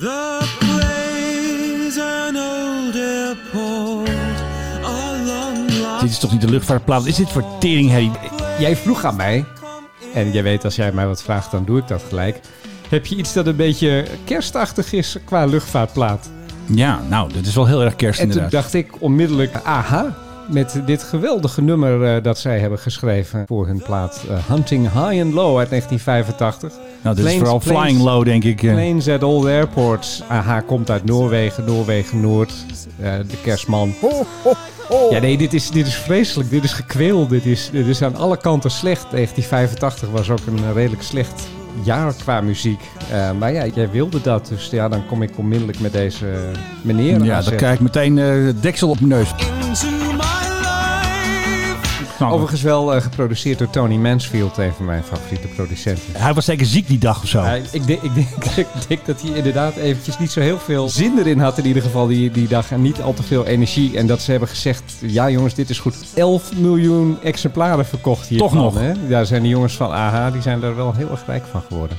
The plays an old airport along Dit is toch niet de luchtvaartplaat? Wat Is dit voor teringherrie? Jij vroeg aan mij, en jij weet als jij mij wat vraagt, dan doe ik dat gelijk. Heb je iets dat een beetje kerstachtig is qua luchtvaartplaat? Ja, nou, dit is wel heel erg kerst En toen inderdaad. dacht ik onmiddellijk, aha, met dit geweldige nummer eh, dat zij hebben geschreven voor hun plaat eh, Hunting High and Low uit 1985. nou, dit is Planes, vooral planes, Flying Low, denk ik. eh. Planes at Old Airports. Aha, komt uit Noorwegen, Noorwegen Noord. Eh, de kerstman. Ja, nee, dit is, dit is vreselijk. Dit is gekweel. Dit is, dit is aan alle kanten slecht. 1985 was ook een eh, redelijk slecht jaar qua muziek. Eh, maar ja, jij wilde dat. Dus ja, dan kom ik onmiddellijk met deze meneer Ja, dan aanzetten. krijg ik meteen eh, het deksel op mijn neus. into my life. Nou, Overigens wel eh, geproduceerd door Tony Mansfield, een van mijn favoriete producenten. Hij was zeker ziek die dag of zo. Ja, Eh, ik, denk, ik, denk, ik denk dat hij inderdaad eventjes niet zo heel veel zin erin had in ieder geval die, die dag. En niet al te veel energie. En dat ze hebben gezegd, ja jongens, dit is goed. 11 miljoen exemplaren verkocht hier. Toch nog. Hè? Daar zijn de jongens van AH, die zijn daar wel heel erg rijk van geworden.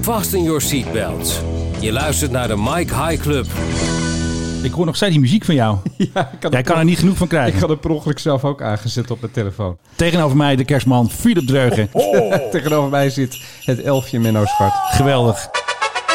Fasten your seatbelts. Je luistert naar de Mike High Club. Ik hoor nog steeds die muziek van jou. Ja, ik had, Jij kan er niet genoeg van ik krijgen. had het per ongeluk zelf ook aangezet op mijn telefoon. Tegenover mij de kerstman Philip Dreugen. Tegenover mij zit het elfje Menno Zwart. Geweldig.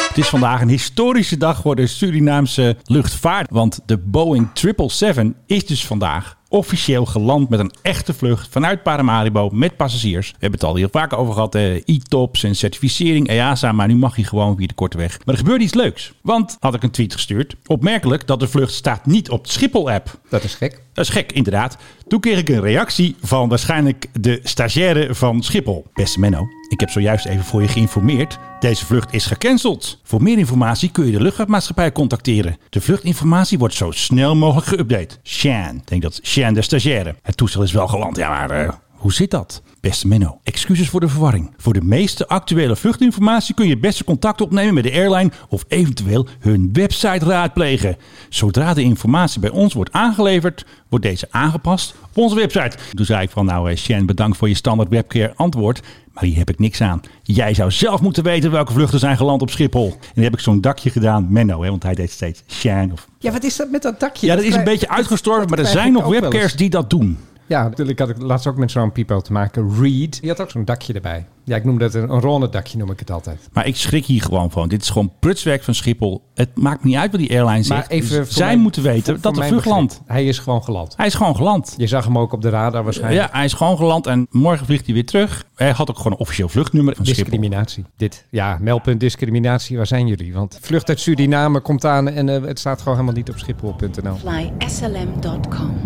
Het is vandaag een historische dag voor de Surinaamse luchtvaart. Want de Boeing 777 is dus vandaag officieel geland met een echte vlucht vanuit Paramaribo met passagiers. We hebben het al heel vaak over gehad. eh, E-tops en certificering, E EASA. Maar nu mag je gewoon weer de korte weg. Maar er gebeurde iets leuks. Want had ik een tweet gestuurd. Opmerkelijk dat de vlucht staat niet op de Schiphol-app. Dat is gek. Dat is gek, inderdaad. Toen kreeg ik een reactie van waarschijnlijk de stagiaire van Schiphol. Beste Menno, ik heb zojuist even voor je geïnformeerd. Deze vlucht is gecanceld. Voor meer informatie kun je de luchtvaartmaatschappij contacteren. De vluchtinformatie wordt zo snel mogelijk geüpdate. Shan, ik denk dat Shan de stagiaire. Het toestel is wel geland, ja maar... eh, hoe zit dat? Beste Menno, excuses voor de verwarring. Voor de meeste actuele vluchtinformatie kun je het beste contact opnemen met de airline of eventueel hun website raadplegen. Zodra de informatie bij ons wordt aangeleverd, wordt deze aangepast op onze website. Toen zei ik van nou eh, Shen, bedankt voor je standaard webcare antwoord, maar hier heb ik niks aan. Jij zou zelf moeten weten welke vluchten zijn geland op Schiphol. En dan heb ik zo'n dakje gedaan, Menno, hè, want hij deed steeds Shen. Of... Ja, wat is dat met dat dakje? Ja, dat is een krijg- beetje dat- uitgestorven, dat maar er krijg zijn ik nog ook wel eens. webcares die dat doen. Ja, natuurlijk had ik laatst ook met zo'n pipo te maken. Reed. Die had ook zo'n dakje erbij. Ja, ik noem dat een, een ronde dakje, noem ik het altijd. Maar ik schrik hier gewoon van. Dit is gewoon prutswerk van Schiphol. Het maakt niet uit wat die airline zegt. voor Zij mijn- moeten weten voor- voor dat de mijn vlucht begrip, landt. Hij is gewoon geland. Hij is gewoon geland. Je zag hem ook op de radar waarschijnlijk. Ja, hij is gewoon geland en morgen vliegt hij weer terug. Hij had ook gewoon een officieel vluchtnummer van Schiphol. Discriminatie. Dit. Ja, meldpunt discriminatie. Waar zijn jullie? Want vlucht uit Suriname komt aan en eh, het staat gewoon helemaal niet op schiphol.nl. FlySLM.com.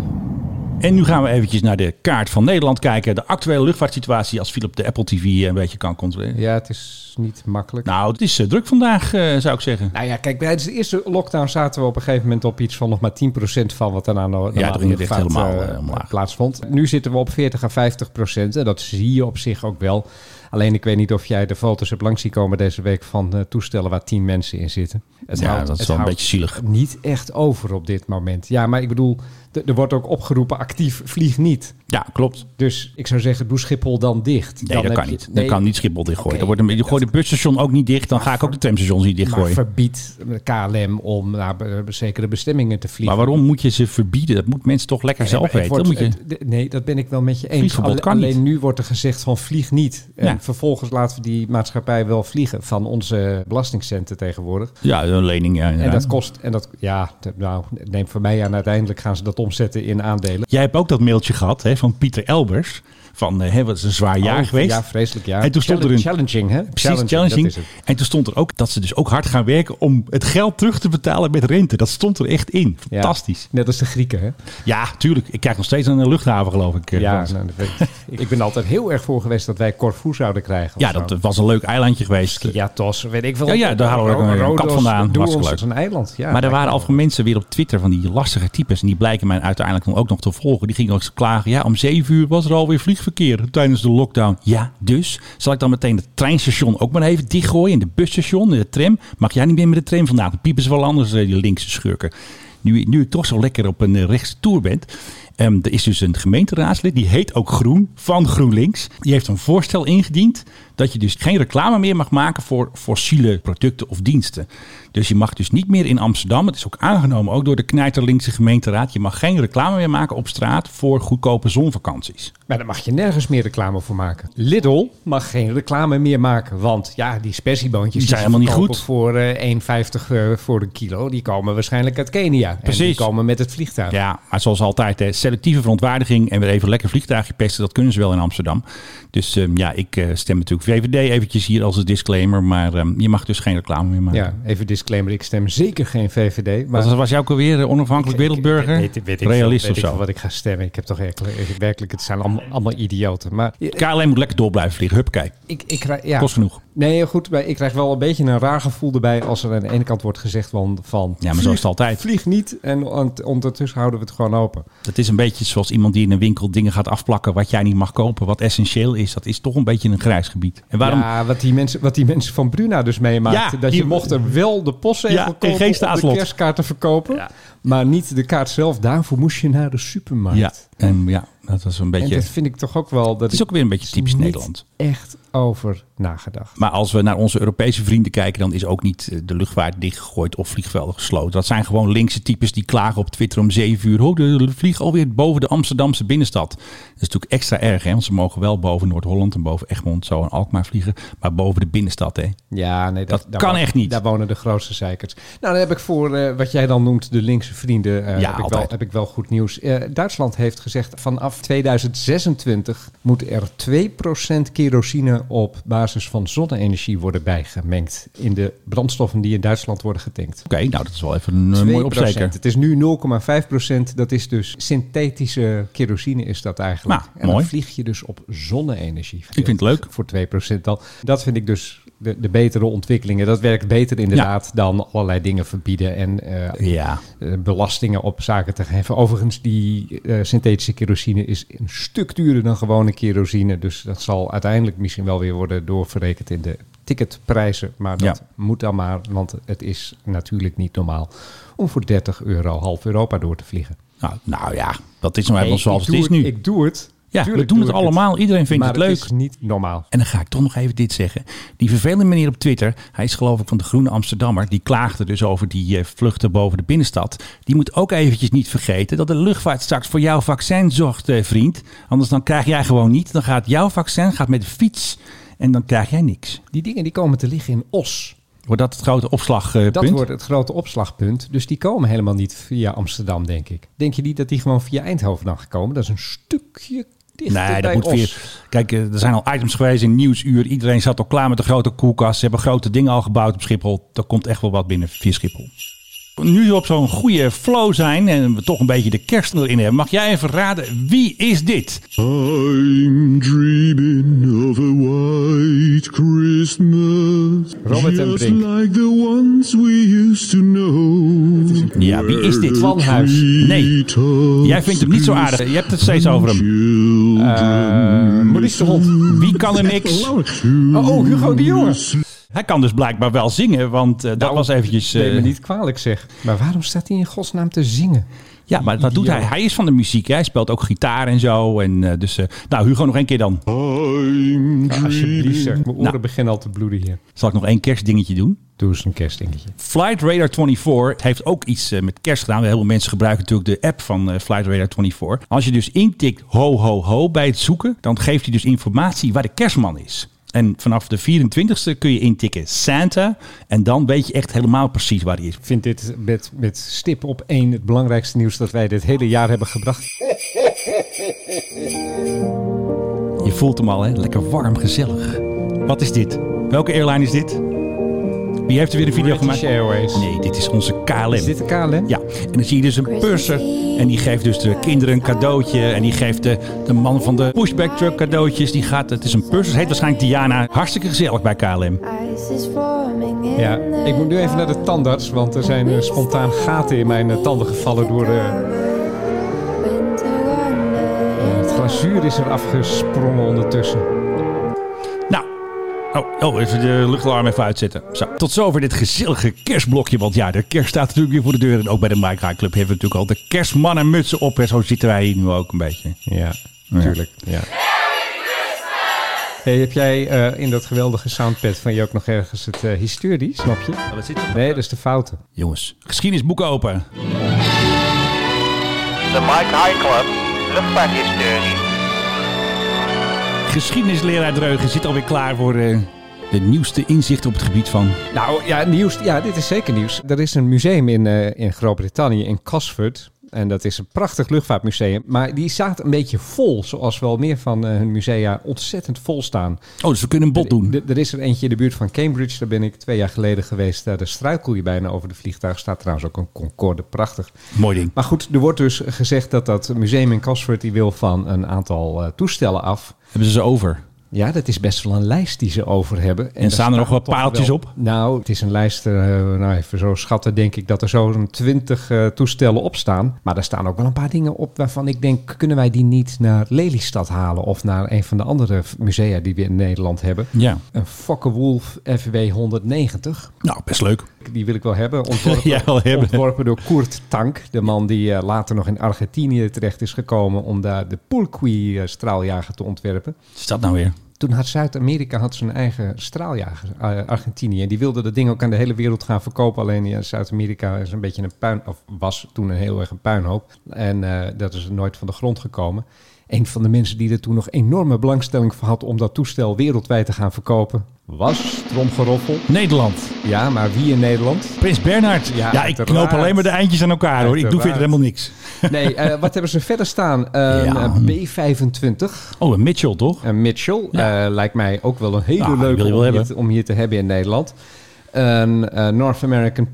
En nu gaan we eventjes naar de kaart van Nederland kijken. De actuele luchtvaartsituatie als Philip de Apple TV een beetje kan controleren. Ja, het is niet makkelijk. Nou. Nou, het is eh, druk vandaag, eh, zou ik zeggen. ja, kijk, tijdens de eerste lockdown zaten we op een gegeven moment op iets van nog maar 10% van wat daarna nou Ja, toen ging het echt helemaal, eh, omlaag. plaatsvond. Nu zitten we op 40 à 50 procent. En dat zie je op zich ook wel. Alleen ik weet niet of jij de foto's hebt langs zien komen deze week van eh, toestellen waar 10 mensen in zitten. Het ja, houdt- dat is het wel een houdt beetje zielig. niet echt over op dit moment. Ja, maar ik bedoel, d- er wordt ook opgeroepen actief, vlieg niet. Ja, klopt. Dus ik zou zeggen, doe Schiphol dan dicht. Nee, dat heb kan je- niet. nee, Dan kan niet Schiphol dichtgooien. Oké, Dan wordt een, je gooit het busstation ook niet dicht. Dan ga ik ook de tramstations niet Maar dichtgooien. verbied KLM om naar be- zekere bestemmingen te Maar vliegen. waarom moet je ze verbieden? Dat moet mensen toch lekker zelf Het weten. wordt- Dan moet je... het- de- nee, dat ben ik wel met je eens. Vliegverbod Alle- kan alleen niet. nu wordt er gezegd van vlieg niet. En Ja. vervolgens laten we die maatschappij wel vliegen van onze belastingcenten tegenwoordig. Ja, een lening. Ja, En inderdaad. dat kost, en dat, ja, t- nou, neem voor mij aan, uiteindelijk gaan ze dat omzetten in aandelen. Jij hebt ook dat mailtje gehad hè, van Pieter Elbers. Van, eh, hè, wat is een zwaar jaar Oh, geweest. Ja, vreselijk jaar. En toen stond er Challenge- een- Challenging, hè? Precies, challenging. dat is het. En toen stond er ook dat ze dus ook hard gaan werken om het geld terug te betalen met rente. Dat stond er echt in. Ja. Fantastisch. Net als de Grieken, hè? Ja, tuurlijk. Ik krijg nog steeds aan de luchthaven, geloof ik. eh, Ja, Frans. nou, dat weet ik. ik ben altijd heel erg voor geweest dat wij Corfu zouden krijgen. ja, dat was een leuk eilandje geweest. Ja, Tos, weet ik veel. Ja, ja, daar halen we ook een kat vandaan. Doe Hartstikke ons leuk. een eiland. Ja, maar er waren al mensen weer op Twitter van die lastige types. En die blijken mij uiteindelijk dan ook nog te volgen. Die gingen ook eens klagen. Ja, om zeven uur was er alweer vliegverkeer tijdens de lockdown. Ja, dus zal ik dan meteen het treinstation ook maar even dichtgooien. En de busstation, en de tram. Mag jij niet meer met de tram vandaan? Dan piepen ze wel anders, eh, die linkse schurken. Nu, nu ik toch zo lekker op een eh, rechtse tour ben. Ehm, er is dus een gemeenteraadslid, die heet ook Groen, van GroenLinks. Die heeft een voorstel ingediend dat je dus geen reclame meer mag maken voor fossiele producten of diensten. Dus je mag dus niet meer in Amsterdam, het is ook aangenomen ook door de knijterlinkse gemeenteraad, je mag geen reclame meer maken op straat voor goedkope zonvakanties. Maar daar mag je nergens meer reclame voor maken. Lidl mag geen reclame meer maken. Want ja, die spessieboontjes Die zijn helemaal niet verkopen goed. voor eh, 1,50 eh, voor een kilo. Die komen waarschijnlijk uit Kenia. En die Precies. komen met het vliegtuig. Ja, maar zoals altijd, hè, selectieve verontwaardiging en weer even lekker vliegtuigje pesten, dat kunnen ze wel in Amsterdam. Dus ehm, ja, ik eh, stem natuurlijk VVD eventjes hier als een disclaimer, maar ehm, je mag dus geen reclame meer maken. Ja, even disclaimer. Ik sem zeker geen VVD. Maar Maar was, was jou ook alweer eh, onafhankelijk wereldburger? Weet- weet ik Realist veel, weet of ik zo? veel wat ik ga stemmen. Ik heb toch werkelijk, werkelijk het zijn allemaal, allemaal idioten. Maar KLM moet lekker door blijven vliegen. Huppakee. ik, ik, krijg- ja. Kost genoeg. Nee, goed, maar ik krijg wel een beetje een raar gevoel erbij als er aan de ene kant wordt gezegd van, van Ja, maar zo is het altijd. vlieg niet en ont- ondertussen houden we het gewoon open. Dat is een beetje zoals iemand die in een winkel dingen gaat afplakken wat jij niet mag kopen, wat essentieel is. Dat is toch een beetje een grijs gebied. En waarom? Ja, wat die mensen, wat die mensen van Bruna dus meemaakten. Ja, dat die- je mocht er wel de postzegel Ja, en kopen geen om de staatslot. kerstkaart te verkopen, maar niet de kaart zelf. Daarvoor moest je naar de supermarkt. Ja, en ja, dat was een En beetje. dat vind ik toch ook wel... Dat Het is ook weer een beetje typisch niet Nederland. echt over nagedacht. Maar als we naar onze Europese vrienden kijken, dan is ook niet eh, de luchtvaart dichtgegooid of vliegvelden gesloten. Dat zijn gewoon linkse types die klagen op Twitter om 7 uur. Oh, de vlieg alweer boven de Amsterdamse binnenstad. Dat is natuurlijk extra erg, hè? want ze mogen wel boven Noord-Holland en boven Egmond, zo en Alkmaar vliegen. Maar boven de binnenstad, hè? Ja, nee, dat, Dat daar kan wo- echt niet. Daar wonen de grootste zeikers. Nou, dan heb ik voor eh, wat jij dan noemt de linkse vrienden. eh, Ja, heb, ik wel, altijd. heb ik wel goed nieuws. Eh, Duitsland heeft gezegd vanaf 2026 moet er 2% kerosine op basis van zonne-energie worden bijgemengd. In de brandstoffen die in Duitsland worden getankt. Oké, nou dat is wel even een eh, mooi 2%. opsteker. Het is nu 0,5%. Dat is dus synthetische kerosine is dat eigenlijk. Nou, en mooi. dan vlieg je dus op zonne-energie. Ik vind het leuk. Voor 2% dan. Dat vind ik dus de, de betere ontwikkelingen. Dat werkt beter inderdaad dan allerlei dingen verbieden en eh, Ja, eh, belastingen op zaken te geven. Overigens, die eh, synthetische kerosine is een stuk duurder dan gewone kerosine. Dus dat zal uiteindelijk misschien wel weer worden doorverrekend in de ticketprijzen. Maar dat Ja. moet dan maar, want het is natuurlijk niet normaal om voor 30 euro half Europa door te vliegen. nou, nou ja, dat is nou even Nee, zoals ik het doe is nu. Ik doe het. ja, we Tuurlijk doen doe het ik allemaal. Iedereen vindt maar het leuk. het is niet normaal. En dan ga ik toch nog even dit zeggen. Die vervelende meneer op Twitter, hij is geloof ik van de Groene Amsterdammer, die klaagde dus over die eh, vluchten boven de binnenstad. Die moet ook eventjes niet vergeten dat de luchtvaart straks voor jouw vaccin zorgt, eh, vriend. Anders dan krijg jij gewoon niet. Dan gaat jouw vaccin gaat met de fiets en dan krijg jij niks. Die dingen die komen te liggen in Os. Wordt dat het grote opslagpunt? Dat wordt het grote opslagpunt. Dus die komen helemaal niet via Amsterdam, denk ik. Denk je niet dat die gewoon via Eindhoven dan gekomen? Dat is een stukje dichter Nee, dat bij moet Os. weer. Kijk, eh, er zijn al items geweest in Nieuwsuur. Iedereen zat al klaar met de grote koelkast. Ze hebben grote dingen al gebouwd op Schiphol. Er komt echt wel wat binnen via Schiphol. Nu we op zo'n goede flow zijn en we toch een beetje de kerst erin hebben, mag jij even raden wie is dit? I'm dreaming of a white Christmas. Robert en just Brink. like the ones we used to know. Ja, wie is dit? Van Huis. Nee, jij vindt hem niet zo aardig. Je hebt het steeds over hem. Eh, Maurice de Hond. Wie kan er niks? Oh, oh, Hugo de Jonge. Hij kan dus blijkbaar wel zingen, want eh, dat Nou, was eventjes... eh, Neem me niet kwalijk zeg. Maar waarom staat hij in godsnaam te zingen? Ja, maar dat doet hij. Hij is van de muziek. hè. Hij speelt ook gitaar en zo. En, eh, dus, eh, nou, Hugo nog één keer dan. I'm Ja, alsjeblieft zeg. Mijn oren Nou. beginnen al te bloeden hier. Zal ik nog één kerstdingetje doen? Doe eens een kerstdingetje. Flight Radar 24 heeft ook iets eh, met kerst gedaan. Heel veel mensen gebruiken natuurlijk de app van eh, Flight Radar 24. Als je dus intikt ho ho ho bij het zoeken, dan geeft hij dus informatie waar de kerstman is. En vanaf de 24ste kun je intikken Santa. En dan weet je echt helemaal precies waar hij is. Ik vind dit met, met stip op één het belangrijkste nieuws dat wij dit hele jaar hebben gebracht. Je voelt hem al, hè? Lekker warm, gezellig. Wat is dit? Welke airline is dit? Wie heeft er weer een video British gemaakt? Airways. Nee, dit is onze KLM. Is dit de KLM? Ja, en dan zie je dus een purser. En die geeft dus de kinderen een cadeautje. En die geeft de, de man van de pushback truck cadeautjes. Die gaat, het is een purser. Het heet waarschijnlijk Diana. Hartstikke gezellig bij KLM. Ja, ik moet nu even naar de tandarts, want er zijn eh, spontaan gaten in mijn eh, tanden gevallen door eh, de... Het glazuur is er afgesprongen ondertussen. Nou, oké. Oh, oh, even de luchtalarm even uitzetten. Zo. Tot zover dit gezellige kerstblokje. Want ja, de kerst staat natuurlijk weer voor de deur. En ook bij de Mike High Club hebben we natuurlijk al de kerstmannenmutsen op. En zo zitten wij hier nu ook een beetje. Ja, natuurlijk. Ja. Hey, heb jij eh, in dat geweldige soundpad van je ook nog ergens het eh, historie, snap je? Wat zit er? Nee, dat is de fouten. Jongens, geschiedenisboeken open. De Mike High Club Luchtvaarthistorie. Geschiedenisleraar Dreugen zit alweer klaar voor eh, de nieuwste inzichten op het gebied van... Nou ja, nieuws. Ja, dit is zeker nieuws. Er is een museum in, eh, in Groot-Brittannië, in Casford. En dat is een prachtig luchtvaartmuseum. Maar die staat een beetje vol, zoals wel meer van eh, hun musea ontzettend vol staan. Oh, dus we kunnen een bot doen. Er, er is er eentje in de buurt van Cambridge, daar ben ik twee jaar geleden geweest. Eh, Daar daar struikel je bijna over de vliegtuig. Staat trouwens ook een Concorde, prachtig. Mooi ding. Maar goed, er wordt dus gezegd dat dat museum in Casford... die wil van een aantal eh, toestellen af. Hebben ze ze over? Ja, dat is best wel een lijst die ze over hebben. En, daar staan er nog wel toch paaltjes op? Nou, het is een lijst, eh, nou even zo schatten denk ik, dat er zo'n twintig eh, toestellen op staan. Maar daar staan ook wel een paar dingen op waarvan ik denk, kunnen wij die niet naar Lelystad halen? Of naar een van de andere musea die we in Nederland hebben? Ja. Een Fokkerwolf FW 190. Nou, best leuk. Die wil ik wel hebben. Ontworpen, Ja, wel hebben. ontworpen door Koert Tank. De man die eh, later nog in Argentinië terecht is gekomen om daar de Pulqui-straaljager te ontwerpen. Wat is dat nou weer? Toen had Zuid-Amerika had zijn eigen straaljager, eh, Argentinië. En die wilde dat ding ook aan de hele wereld gaan verkopen. Alleen ja, Zuid-Amerika is een beetje een puin, of was toen een heel erg een puinhoop. En eh, dat is nooit van de grond gekomen. Een van de mensen die er toen nog enorme belangstelling voor had om dat toestel wereldwijd te gaan verkopen, was Tromgeroffel. Nederland. Ja, maar wie in Nederland? Prins Bernhard. Ja, Ja, ik uiteraard. knoop alleen maar de eindjes aan elkaar hoor. Ik doe verder Uiteraard. helemaal niks. Nee, eh, wat hebben ze verder staan? Ehm, Een Ja. B25. Oh, en Mitchell toch? En Mitchell eh, lijkt mij ook wel een hele Ja, leuke Nou, wil je wel om, hier hebben. te, om hier te hebben in Nederland. Een eh, North American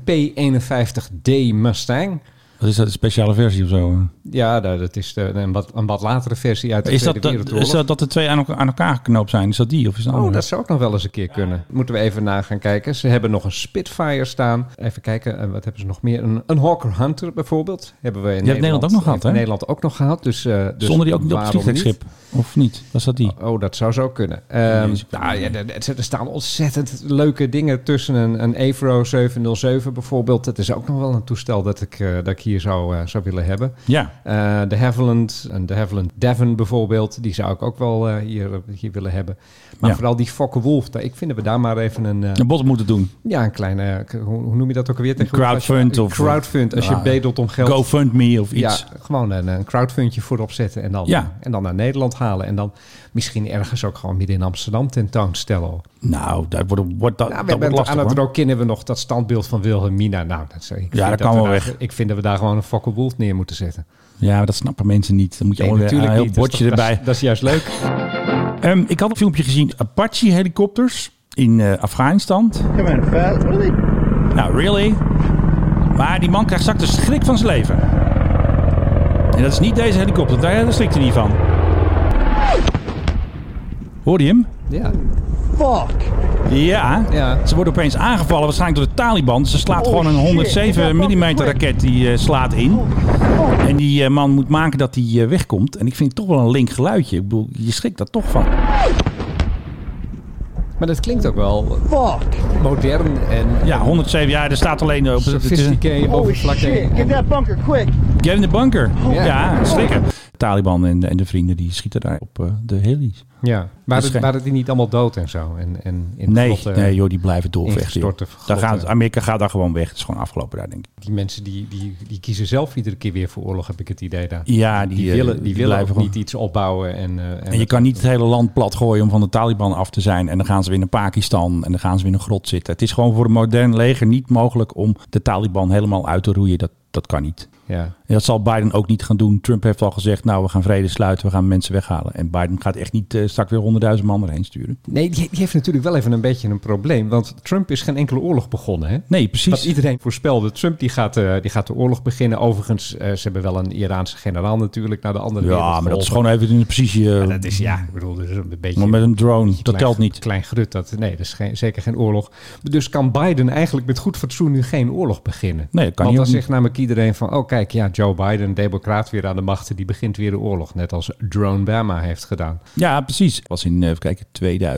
P51D Mustang. Wat is dat, een speciale versie of zo? Ja, nou, dat is de, een, wat, een wat latere versie uit de Is dat, Tweede dat, Wereldoorlog. is dat dat de twee aan elkaar, aan elkaar geknoopt zijn? Is dat die of is dat Oh, andere? dat zou ook nog wel eens een keer kunnen. Moeten we even na gaan kijken. Ze hebben nog een Spitfire staan. Even kijken, eh, wat hebben ze nog meer? Een, een Hawker Hunter bijvoorbeeld. Hebben we in hebt Nederland ook nog gehad, in hè? Nederland ook nog gehad. Dus, eh, dus Stonden die ook niet op het waarom vliegtuigschip? Of niet? Was dat die? Oh, dat zou zo kunnen. Ehm, is- nou, ja, er, er- er staan ontzettend leuke dingen tussen. Een, een Evro 707 bijvoorbeeld. Dat is ook nog wel een toestel dat ik, eh, dat ik hier zou, eh, zou willen hebben. Ja. Eh, de Havilland en de Havilland Devon bijvoorbeeld. Die zou ik ook wel eh, hier, hier willen hebben. Maar Ja. vooral die Fokker Wolf. daar- Ik vind dat we daar maar even een... eh, Een bot moeten doen. ja, een kleine... eh, Hoe, hoe noem je dat ook alweer? tegenwoordig? Als je- crowdfund een of- eh, nou, Crowdfund. Als Ja. je bedelt om geld. GoFundMe of iets. Ja, gewoon een, een crowdfundje voorop zetten en dan, Ja. en dan naar Nederland halen. En dan misschien ergens ook gewoon midden in Amsterdam tentoonstellen. Nou, dat wordt, wordt, dat, Nou, dat we wordt hebben lastig aan het hoor. rook kennen we nog dat standbeeld van Wilhelmina. Nou, dat, ik vind dat kan we wel daar- weg. Ik vind dat we daar gewoon een fucking wolf neer moeten zetten. Ja, maar dat snappen mensen niet. Dan moet je Nee, allemaal weer een heel niet. Dus Dat is bordje toch- erbij. Dat is, dat is juist leuk. Ehm, ik had een filmpje gezien. Apache-helikopters in eh, Afghanistan. Come on, fat. What are they? Nou, really? Maar die man krijgt straks de schrik van zijn leven. En dat is niet deze helikopter. Daar daar schrikt hij niet van. Hoor je hem? ja. Ja. Ja. Ze worden opeens aangevallen, waarschijnlijk door de Taliban. Dus Ze Oh, slaat gewoon een 107 mm raket die eh, slaat in. Oh, En die eh, man moet maken dat hij eh, wegkomt. En ik vind het toch wel een link geluidje. Ik bedoel, je schrikt daar toch van. Maar dat klinkt ook wel modern en Ja, 107 jaar, er staat alleen op het- eh, het is een- sophisticated Shit, overvlakken. get that bunker quick. Get in de bunker. Oh, Ja. Ja, schrikken. Taliban en, en de vrienden die schieten daar op eh, de helis. Ja, Dus waren, geen- waren die niet allemaal dood en zo? En, en in eh, Nee, grotten- nee joh, die blijven doorvechten. joh. ingestorte eh. Daar grotten. gaat, Amerika gaat daar gewoon weg. Het is gewoon afgelopen daar, denk ik. Die mensen die, die, die kiezen zelf iedere keer weer voor oorlog, heb ik het idee daar. Ja, die, Die, eh, willen, die willen ook blijven gewoon- niet iets opbouwen. En, eh, En je kan niet het hele land plat gooien om van de Taliban af te zijn. En dan gaan ze weer naar Pakistan en dan gaan ze weer in een grot zitten. Het is gewoon voor een modern leger niet mogelijk om de Taliban helemaal uit te roeien. Dat, dat kan niet. Ja. En dat zal Biden ook niet gaan doen. Trump heeft al gezegd, nou we gaan vrede sluiten, we gaan mensen weghalen. En Biden gaat echt niet eh, straks weer honderdduizend man erheen sturen. Nee, die, die heeft natuurlijk wel even een beetje een probleem. Want Trump is geen enkele oorlog begonnen, hè? Nee, Wat precies. iedereen voorspelde. Trump die gaat, eh, die gaat de oorlog beginnen. Overigens, eh, ze hebben wel een Iraanse generaal natuurlijk naar de andere wereld Ja, maar dat is geholpen. gewoon even in de precisie. eh, Dat is, ja, ik bedoel, dat is een beetje... maar met een drone, dat klein- telt niet. Klein grut, dat, nee, dat is geen, zeker geen oorlog. Dus kan Biden eigenlijk met goed fatsoen nu geen oorlog beginnen? Nee, dat kan Want hij dan ook zegt namelijk iedereen van... oh kijk, ja, Joe Biden, democraat weer aan de macht, die begint weer een oorlog. Net als Drone Bama heeft gedaan. Ja, precies. Was in, eh, even kijken,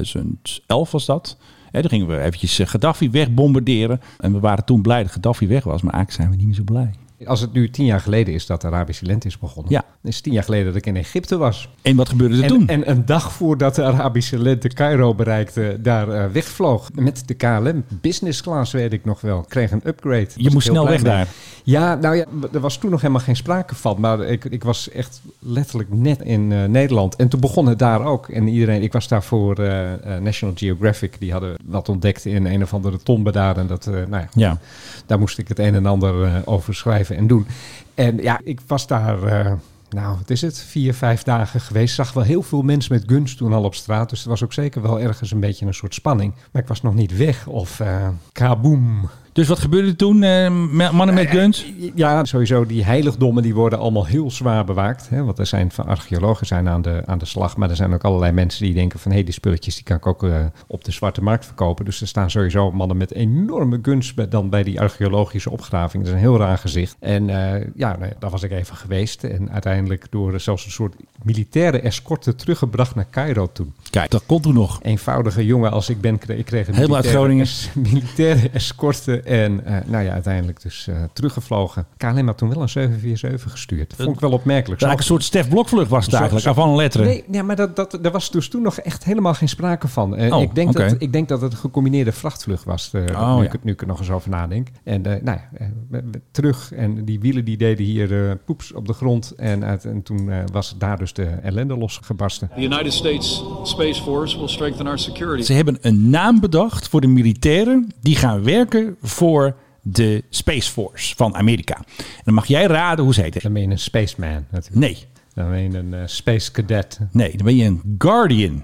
2011 was dat. Hè, toen gingen we eventjes eh, Gaddafi wegbombarderen. En we waren toen blij dat Gaddafi weg was. Maar eigenlijk zijn we niet meer zo blij. Als het nu tien jaar geleden is dat de Arabische lente is begonnen, Ja. dan is het tien jaar geleden dat ik in Egypte was. En wat gebeurde er En, toen? en een dag voordat de Arabische lente Cairo bereikte, daar eh, wegvloog met de KLM. Business class weet ik nog wel. Kreeg een upgrade. Was ik moest heel snel blij weg mee. daar. Ja, nou ja, b- er was toen nog helemaal geen sprake van. Maar ik, ik was echt letterlijk net in eh, Nederland. En toen begon het daar ook. En iedereen, ik was daar voor eh, eh, National Geographic. Die hadden wat ontdekt in een of andere tombe daar. En dat, eh, nou ja, Ja. daar moest ik het een en ander eh, over schrijven en doen. En ja, ik was daar, eh, nou, wat is het, vier, vijf dagen geweest. Zag wel heel veel mensen met guns toen al op straat. Dus er was ook zeker wel ergens een beetje een soort spanning. Maar ik was nog niet weg of eh kaboom. Dus wat gebeurde er toen? eh, ma- mannen met guns? Nou Ja, eh, sowieso, die heiligdommen die worden allemaal heel zwaar bewaakt. Hè? Want er zijn van archeologen zijn aan, de, aan de slag. Maar er zijn ook allerlei mensen die denken van... hé, die spulletjes die kan ik ook eh, op de zwarte markt verkopen. Dus er staan sowieso mannen met enorme guns... bij- dan bij die archeologische opgraving. Dat is een heel raar gezicht. En eh, ja, nou, daar was ik even geweest. En uiteindelijk door eh, zelfs een soort militaire escorte... teruggebracht naar Cairo toen Kijk, dat kon toen nog. eenvoudige jongen als ik ben, kreeg, ik kreeg een Helemaal uit Groningen. militaire, es- militaire escorte. En eh, nou ja, uiteindelijk dus eh, teruggevlogen. KLM had toen wel een 747 gestuurd. Dat vond ik wel opmerkelijk. Eigenlijk een soort Stef Blokvlucht was het Zo- eigenlijk. zo- Af van letteren. Nee, nee, maar dat, dat, daar was dus toen nog echt helemaal geen sprake van. Eh, Oh, ik, denk oké. dat, ik denk dat het een gecombineerde vrachtvlucht was. eh, Oh, nu, ja. ik, nu ik er nog eens over nadenk. En eh, nou ja, eh, we- we- terug. En die wielen die deden hier eh, poeps op de grond. En, uit, en toen eh, was daar dus de ellende losgebarsten. The United States Space Force will strengthen our security. Ze hebben een naam bedacht voor de militairen die gaan werken voor de Space Force van Amerika. En dan mag jij raden hoe ze heten. Dan ben je een spaceman natuurlijk. Nee, Dan ben je een eh, space cadet. nee, dan ben je een Guardian.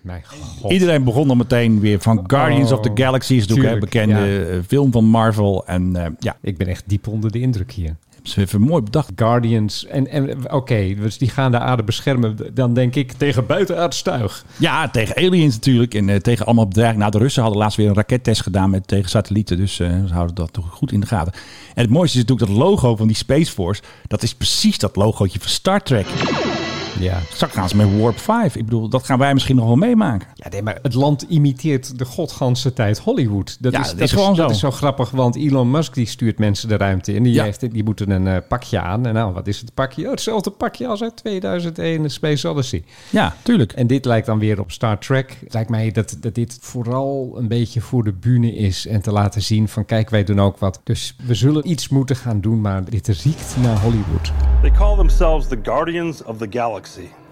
Mijn god. Iedereen begon dan meteen weer van Guardians Oh, of the Galaxy. Is natuurlijk een tuurlijk, bekende eh, film van Marvel. En eh, ja, Ik ben echt diep onder de indruk hier. ze hebben mooi bedacht. Guardians. En, en oké, dus die gaan de aarde beschermen. Dan denk ik tegen buitenaards tuig. Ja, tegen aliens natuurlijk. En eh, tegen allemaal bedreigingen. Nou, de Russen hadden laatst weer een rakettest gedaan met, tegen satellieten. Dus eh, ze houden dat toch goed in de gaten. En het mooiste is natuurlijk dat logo van die Space Force. Dat is precies dat logootje van Star Trek. Ja. Straks gaan ze met Warp 5. Ik bedoel, dat gaan wij misschien nog wel meemaken. Ja, nee, maar het land imiteert de godganse tijd Hollywood. Dat Ja, is, dat is gewoon zo. Dat is zo grappig, want Elon Musk die stuurt mensen de ruimte in. Die, Ja. heeft, die moeten een eh, pakje aan. En nou, wat is het pakje? Oh, hetzelfde pakje als uit 2001 Space Odyssey. Ja, tuurlijk. En dit lijkt dan weer op Star Trek. Het lijkt mij dat, dat dit vooral een beetje voor de bühne is. En te laten zien van kijk, wij doen ook wat. Dus we zullen iets moeten gaan doen, maar dit riekt naar Hollywood. They call themselves the Guardians of the Galaxy.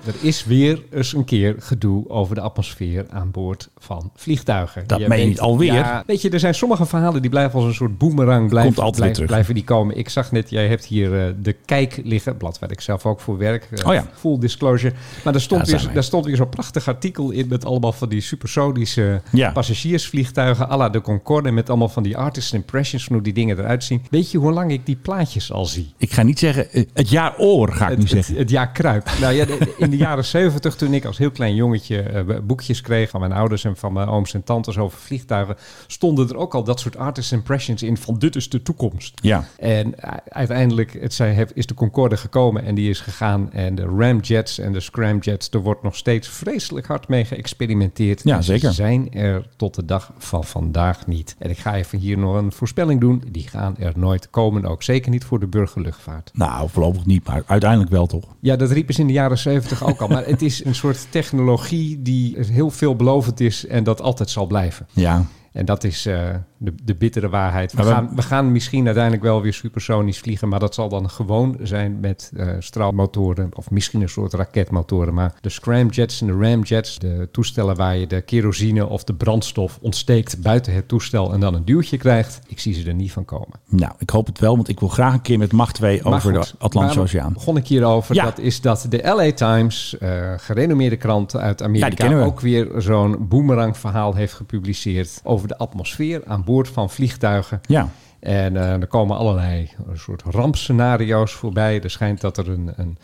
Er is weer eens een keer gedoe over de atmosfeer aan boord van vliegtuigen. Dat meen je weet- niet alweer? Ja, weet je, er zijn sommige verhalen die blijven als een soort boemerang blijven, altijd weer blijven, terug. blijven die komen. Ik zag net, jij hebt hier eh, de kijk liggen, blad waar ik zelf ook voor werk. eh, Oh ja. Full disclosure. Maar daar Ja, stond, zijn weer, wij. daar stond weer zo'n prachtig artikel in met allemaal van die supersonische Ja. passagiersvliegtuigen à la de Concorde met allemaal van die artist impressions van hoe die dingen eruit zien. Weet je hoe lang ik die plaatjes al zie? Ik ga niet zeggen, eh, het jaar oor ga ik nu Het, het, zeggen. het jaar kruip. Nou ja, de- in de jaren zeventig, toen ik als heel klein jongetje eh, boekjes kreeg van mijn ouders en van mijn ooms en tantes over vliegtuigen, stonden er ook al dat soort artist impressions in van dit is de toekomst. Ja. En eh, uiteindelijk het zijn, heb- is de Concorde gekomen en die is gegaan. En de ramjets en de scramjets, er wordt nog steeds vreselijk hard mee geëxperimenteerd. Ja, En ze zeker. zijn er tot de dag van vandaag niet. En ik ga even hier nog een voorspelling doen. Die gaan er nooit komen, ook zeker niet voor de burgerluchtvaart. Nou, voorlopig niet, maar uiteindelijk wel toch. Ja, dat riepen ze in de jaren zeventig ook al. Maar het is een soort technologie die heel veelbelovend is en dat altijd zal blijven. Ja. En dat is eh, de, de bittere waarheid. We Maar we- gaan, we gaan misschien uiteindelijk wel weer supersonisch vliegen, maar dat zal dan gewoon zijn met eh, straalmotoren of misschien een soort raketmotoren. Maar de scramjets en de ramjets, de toestellen waar je de kerosine of de brandstof ontsteekt buiten het toestel en dan een duwtje krijgt, ik zie ze er niet van komen. Nou, ik hoop het wel, want ik wil graag een keer met Macht 2 Maar over goed, de Atlantische waarom Oceaan. begon ik hierover. Ja. Dat is dat de LA Times, eh, gerenommeerde krant uit Ja, Amerika, die kennen we. ook weer zo'n boemerang verhaal heeft gepubliceerd over de atmosfeer aan boord van vliegtuigen. Ja. En eh, er komen allerlei eh, soort rampscenario's voorbij. Er schijnt dat er een, een,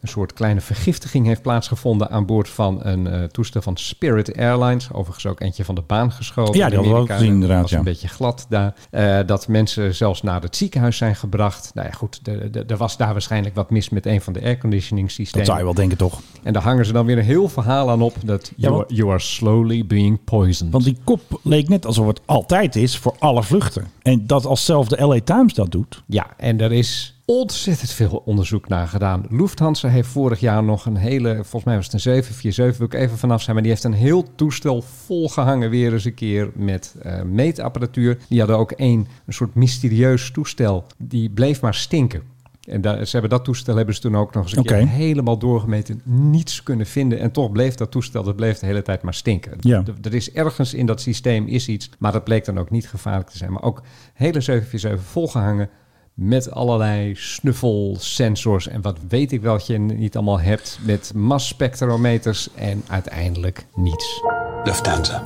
een soort kleine vergiftiging heeft plaatsgevonden aan boord van een eh, toestel van Spirit Airlines. Overigens ook eentje van de baan geschoven. Ja, die hadden we ook Amerika. gezien, inderdaad, Dat was ja. een beetje glad daar. Eh, dat mensen zelfs naar het ziekenhuis zijn gebracht. Nou ja, goed, de- de- er was daar waarschijnlijk wat mis met een van de airconditioning Dat systemen. zou je wel denken, toch? En daar hangen ze dan weer een heel verhaal aan op dat you, want- are, you are slowly being poisoned. Want die kop leek net alsof het altijd is voor alle vluchten. En dat als zelf de LA Times dat doet. Ja, en er is ontzettend veel onderzoek naar gedaan. Lufthansa heeft vorig jaar nog een hele, volgens mij was het een 747, wil ik even vanaf zijn, maar die heeft een heel toestel volgehangen weer eens een keer met eh, meetapparatuur. Die hadden ook één, een soort mysterieus toestel, die bleef maar stinken. En daar, ze hebben dat toestel hebben ze toen ook nog eens een Oké. keer helemaal doorgemeten. Niets kunnen vinden. En toch bleef dat toestel, dat bleef de hele tijd maar stinken. Ja. D- er is ergens in dat systeem is iets, maar dat bleek dan ook niet gevaarlijk te zijn. Maar ook hele 747 volgehangen met allerlei snuffelsensors en wat weet ik wat je niet allemaal hebt met masspectrometers en uiteindelijk niets.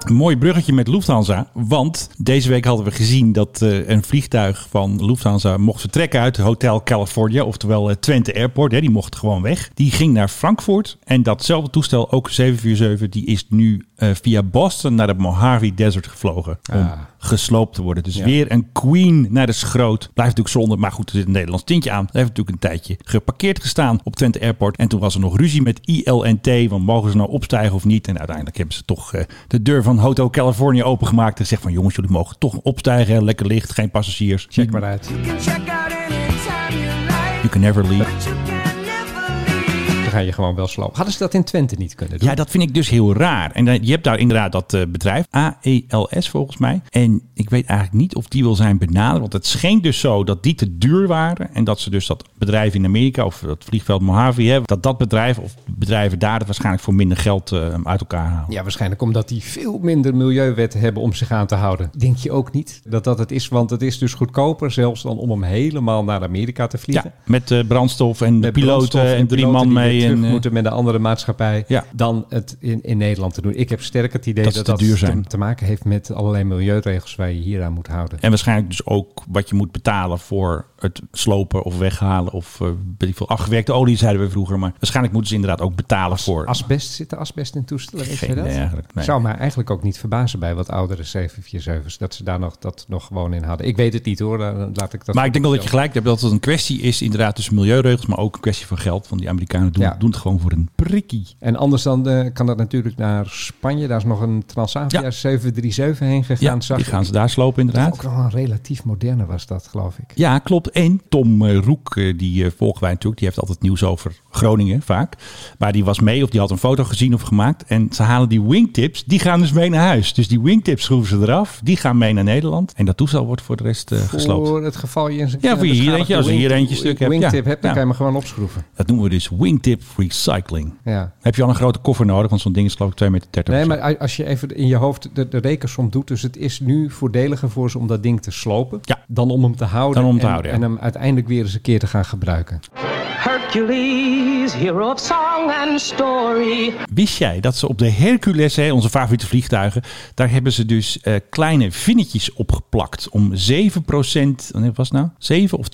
Een mooi bruggetje met Lufthansa. Want deze week hadden we gezien dat eh, een vliegtuig van Lufthansa mocht vertrekken uit Hotel California. Oftewel eh, Twente Airport. Hè, die mocht gewoon weg. Die ging naar Frankfurt. En datzelfde toestel, ook 747, die is nu eh, via Boston naar de Mojave Desert gevlogen. Om gesloopt te worden. Dus weer een queen naar de schroot. Blijft natuurlijk zonde, maar goed, er zit een Nederlands tintje aan. Hij heeft natuurlijk een tijdje geparkeerd gestaan op Twente Airport. En toen was er nog ruzie met ILNT, want mogen ze nou opstijgen of niet? En uiteindelijk hebben ze toch eh, de deur van Hotel California opengemaakt. En zegt van jongens, jullie mogen toch opstijgen. hè. Lekker licht, geen passagiers. Check maar uit. You can never leave. Dan ga je gewoon wel slopen. Hadden ze dat in Twente niet kunnen doen? Ja, dat vind ik dus heel raar. En dan- je hebt daar inderdaad dat eh, bedrijf, AELS volgens mij. En ik weet eigenlijk niet of die wil zijn benaderd. Want het scheen dus zo dat die te duur waren. En dat ze dus dat bedrijf in Amerika, of dat vliegveld Mojave hebben, dat dat bedrijf of bedrijven daar het waarschijnlijk voor minder geld eh, uit elkaar halen. Ja, waarschijnlijk omdat die veel minder milieuwetten hebben om zich aan te houden. Denk je ook niet dat dat het is? Want het is dus goedkoper zelfs dan om hem helemaal naar Amerika te Ja, vliegen. met eh, brandstof en met brandstof piloten en, drie piloten man die weer mee. terug En, eh, moeten met een andere maatschappij Ja. dan het in, in Nederland te doen. Ik heb sterk het idee Dat dat ze dat, te duur zijn. te, te maken heeft met allerlei milieuregels waar je hier aan moet houden. en waarschijnlijk dus ook wat je moet betalen voor het slopen of weghalen. Of eh, weet ik veel, afgewerkte olie zeiden we vroeger. Maar waarschijnlijk moeten ze inderdaad ook betalen voor Asbest, zit er asbest in toestellen? Weet Geen je dat? idee eigenlijk, nee. Zou mij eigenlijk ook niet verbazen bij wat oudere 747's dat ze daar nog, dat nog gewoon in hadden. Ik weet het niet hoor, dan laat ik dat. Maar ik denk wel dat je gelijk hebt dat het een kwestie is, inderdaad, tussen milieuregels, maar ook een kwestie van geld. Want die Amerikanen doen, Ja. doen het gewoon voor een prikkie. En anders dan eh, kan dat natuurlijk naar Spanje. Daar is nog een Transavia Ja. 737 heen Ja, gegaan. zag die ik. gaan ze daar slopen, Ook inderdaad. wel een relatief moderne was dat, geloof ik. Ja, klopt. En Tom eh, Roek, eh, die eh, volgen wij natuurlijk, die heeft altijd nieuws over Groningen vaak. Maar die was mee of die had een foto gezien of gemaakt. En ze halen die wingtips, die gaan dus mee naar huis. Dus die wingtips schroeven ze eraf, die gaan mee naar Nederland. En dat toestel wordt voor de rest eh, gesloopt. Voor het geval je eens een Ja, voor je hier beschadigde eentje, als je hier wing- eentje stuk hebt, Wingtip ja. hebt, dan Ja. kan je hem gewoon opschroeven. Dat noemen we dus wingtip recycling. Ja. Heb je al een grote koffer nodig, want zo'n ding is geloof ik 2,30 meter. Nee, maar a- als je even in je hoofd de, de rekensom doet, dus het is nu voordeliger voor ze om dat ding te slopen, Ja. dan om hem te houden, Dan om te en, houden, ja. en hem uiteindelijk weer eens een keer te gaan gebruiken. Hercules, hero of song and story. Wist jij dat ze op de Hercules, hè, onze favoriete vliegtuigen, daar hebben ze dus eh, kleine vinnetjes opgeplakt om 7%, wat was het nou? 7 of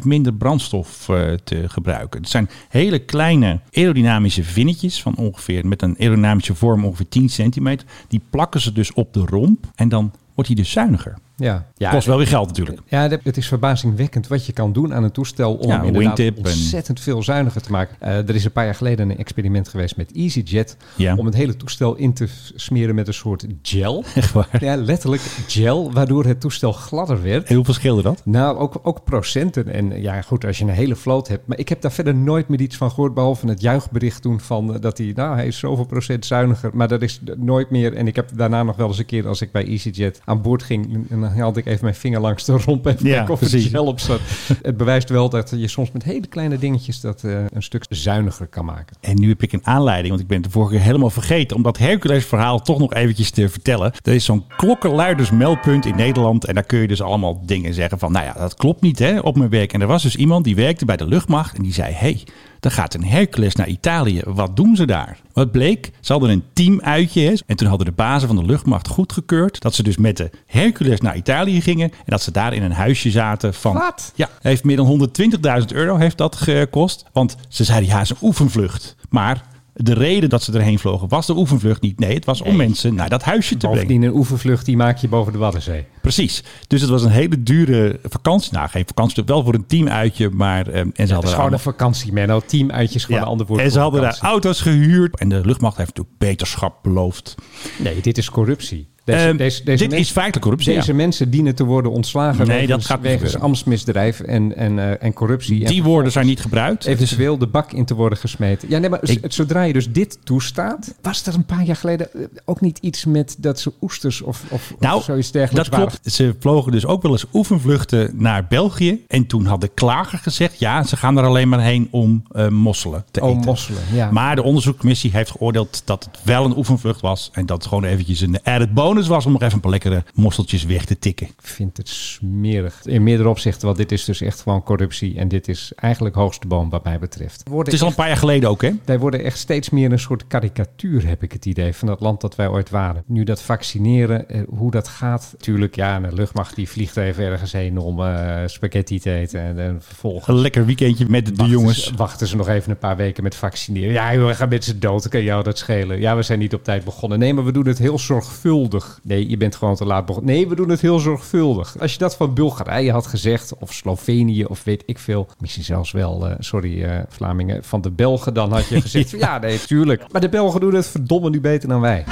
12% minder brandstof eh, te gebruiken. Het zijn hele kleine aerodynamische vinnetjes van ongeveer, met een aerodynamische vorm ongeveer 10 centimeter. Die plakken ze dus op de romp en dan wordt hij dus zuiniger. Ja. Ja, Kost wel weer geld natuurlijk. Ja, dat- het is verbazingwekkend wat je kan doen aan een toestel om Ja, hem inderdaad wingtip en- ontzettend veel zuiniger te maken. Eh, er is een paar jaar geleden een experiment geweest met EasyJet Ja. om het hele toestel in te f- smeren met een soort gel. Echt waar. Ja, letterlijk gel, waardoor het toestel gladder werd. En hoeveel scheelde dat? Nou, ook, ook procenten. En ja, goed, als je een hele vloot hebt. Maar ik heb daar verder nooit meer iets van gehoord. Behalve het juichbericht toen van eh, dat hij, nou, hij is zoveel procent zuiniger. Maar dat is d- nooit meer. En ik heb daarna nog wel eens een keer, als ik bij EasyJet aan boord ging. En dan haalde ik even mijn vinger langs de romp. En Ja, ja, of het precies. gel op zat. het bewijst wel dat je soms met hele kleine dingetjes dat eh, een stuk zuiniger kan maken. En nu heb ik een aanleiding, want ik ben het de vorige keer helemaal vergeten om dat Hercules-verhaal toch nog eventjes te vertellen. Er is zo'n klokkenluidersmeldpunt in Nederland en daar kun je dus allemaal dingen zeggen van, nou ja, dat klopt niet hè, op mijn werk. En er was dus iemand die werkte bij de luchtmacht en die zei, hey, Dan gaat een Hercules naar Italië. Wat doen ze daar? Wat bleek? Ze hadden een teamuitje. Hè? En toen hadden de bazen van de luchtmacht goedgekeurd dat ze dus met de Hercules naar Italië gingen. En dat ze daar in een huisje zaten van... Wat? Ja, heeft meer dan 120.000 euro heeft dat gekost. Want ze zeiden, ja, het is een oefenvlucht. Maar de reden dat ze erheen vlogen was de oefenvlucht niet. Nee, het was om mensen naar dat huisje te brengen. Bovendien een oevervlucht, die maak je boven de Waddenzee. Precies. Dus het was een hele dure vakantie. Nou, geen vakantie, wel voor een teamuitje, maar... ehm, en ze hadden Dat is er gewoon allemaal- een vakantie, Menno. Teamuitjes, gewoon Ja, een ander woord En ze voor hadden daar Ah. vakantie. auto's gehuurd. En de luchtmacht heeft natuurlijk beterschap beloofd. Nee, dit is corruptie. Deze, Ehm, deze, dit deze mensen- is feitelijk corruptie, Deze ja. mensen dienen te worden ontslagen Nee, wegens, dat gaat niet wegens gebeuren. ambtsmisdrijf en, en, eh, en corruptie. Die en woorden zijn niet gebruikt. eventueel de bak in te worden gesmeten. Ja, nee, maar z- Ik- zodra je dus dit toestaat, was er een paar jaar geleden eh, ook niet iets met dat ze oesters of, of, of Nou, zoiets dergelijks dat klopt. Ze vlogen dus ook wel eens oefenvluchten naar België. En toen had de klager gezegd... ja, ze gaan er alleen maar heen om eh, mosselen te Oh, eten. mosselen, ja. Maar de onderzoekcommissie heeft geoordeeld dat het wel een oefenvlucht was. En dat het gewoon eventjes een added bonus was... om nog even een paar lekkere mosseltjes weg te tikken. Ik vind het smerig. In meerdere opzichten, want dit is dus echt gewoon corruptie. En dit is eigenlijk hoogste boom wat mij betreft. Het is al een paar jaar geleden ook, hè? Wij worden echt steeds meer een soort karikatuur, heb ik het idee, van dat land dat wij ooit waren. Nu dat vaccineren, eh, hoe dat gaat. Tuurlijk, ja, de luchtmacht die vliegt even ergens heen om eh, spaghetti te eten. En, en vervolgens Een lekker weekendje met de, de wachten jongens. ze, Dus, eh, wachten ze nog even een paar weken met vaccineren. Ja, joh, we gaan mensen dood, dan kan jou dat schelen. Ja, we zijn niet op tijd begonnen. Nee, maar we doen het heel zorgvuldig. Nee, je bent gewoon te laat begonnen. Nee, we doen het heel zorgvuldig. Als je dat van Bulgarije had gezegd, of Slovenië, of weet ik veel. Misschien zelfs wel, eh, sorry eh, Vlamingen, van de Belgen, dan had je gezegd... ja. ja, nee, tuurlijk. Maar de Belgen doen het verdomme nu beter dan wij.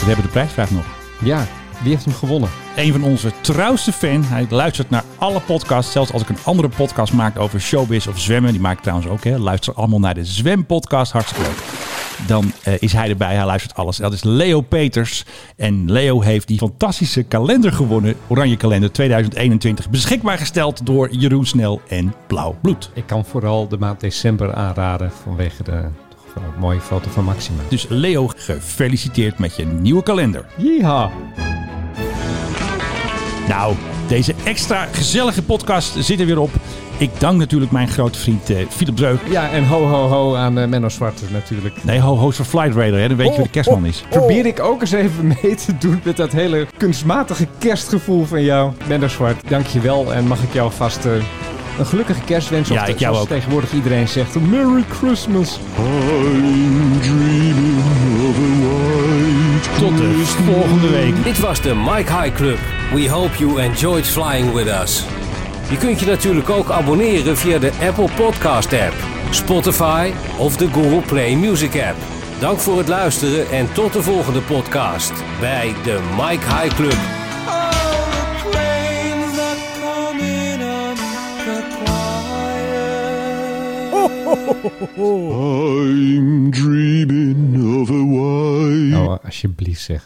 We hebben de prijsvraag nog. Ja, wie heeft hem gewonnen? Een van onze trouwste fan. Hij luistert naar alle podcasts. Zelfs als ik een andere podcast maak over showbiz of zwemmen. Die maak ik trouwens ook. Hè. Luister allemaal naar de zwempodcast. Hartstikke leuk. Dan eh, is hij erbij. Hij luistert alles. Dat is Leo Peters. En Leo heeft die fantastische kalender gewonnen. Oranje kalender 2021. Beschikbaar gesteld door Jeroen Snel en Blauw Bloed. Ik kan vooral de maand december aanraden vanwege de... toch wel een Mooie foto van Maxima. Dus Leo, gefeliciteerd met je nieuwe kalender. Yeehaw! Nou, deze extra gezellige podcast zit er weer op. Ik dank natuurlijk mijn grote vriend eh, Philip Dreuk. Ja, en ho ho ho aan eh, Menno Zwarte natuurlijk. Nee, ho, host van Flight Radar, hè? dan weet je Oh, wie de kerstman is. Probeer ik ook eens even mee te doen met dat hele kunstmatige kerstgevoel van jou. Menno Zwart, dankjewel en mag ik jou vast eh, een gelukkige kerst wensen. Ja, Of ik jou zoals ook. tegenwoordig iedereen zegt, Merry Christmas. I'm dreaming of a white Tot de volgende week. Dit was de Mike High Club. We hope you enjoyed flying with us. Je kunt je natuurlijk ook abonneren via de Apple Podcast app, Spotify of de Google Play Music app. Dank voor het luisteren en tot de volgende podcast bij de Mike High Club. I'm dreaming of a white Oh, Oh, Nou, alsjeblieft zeg.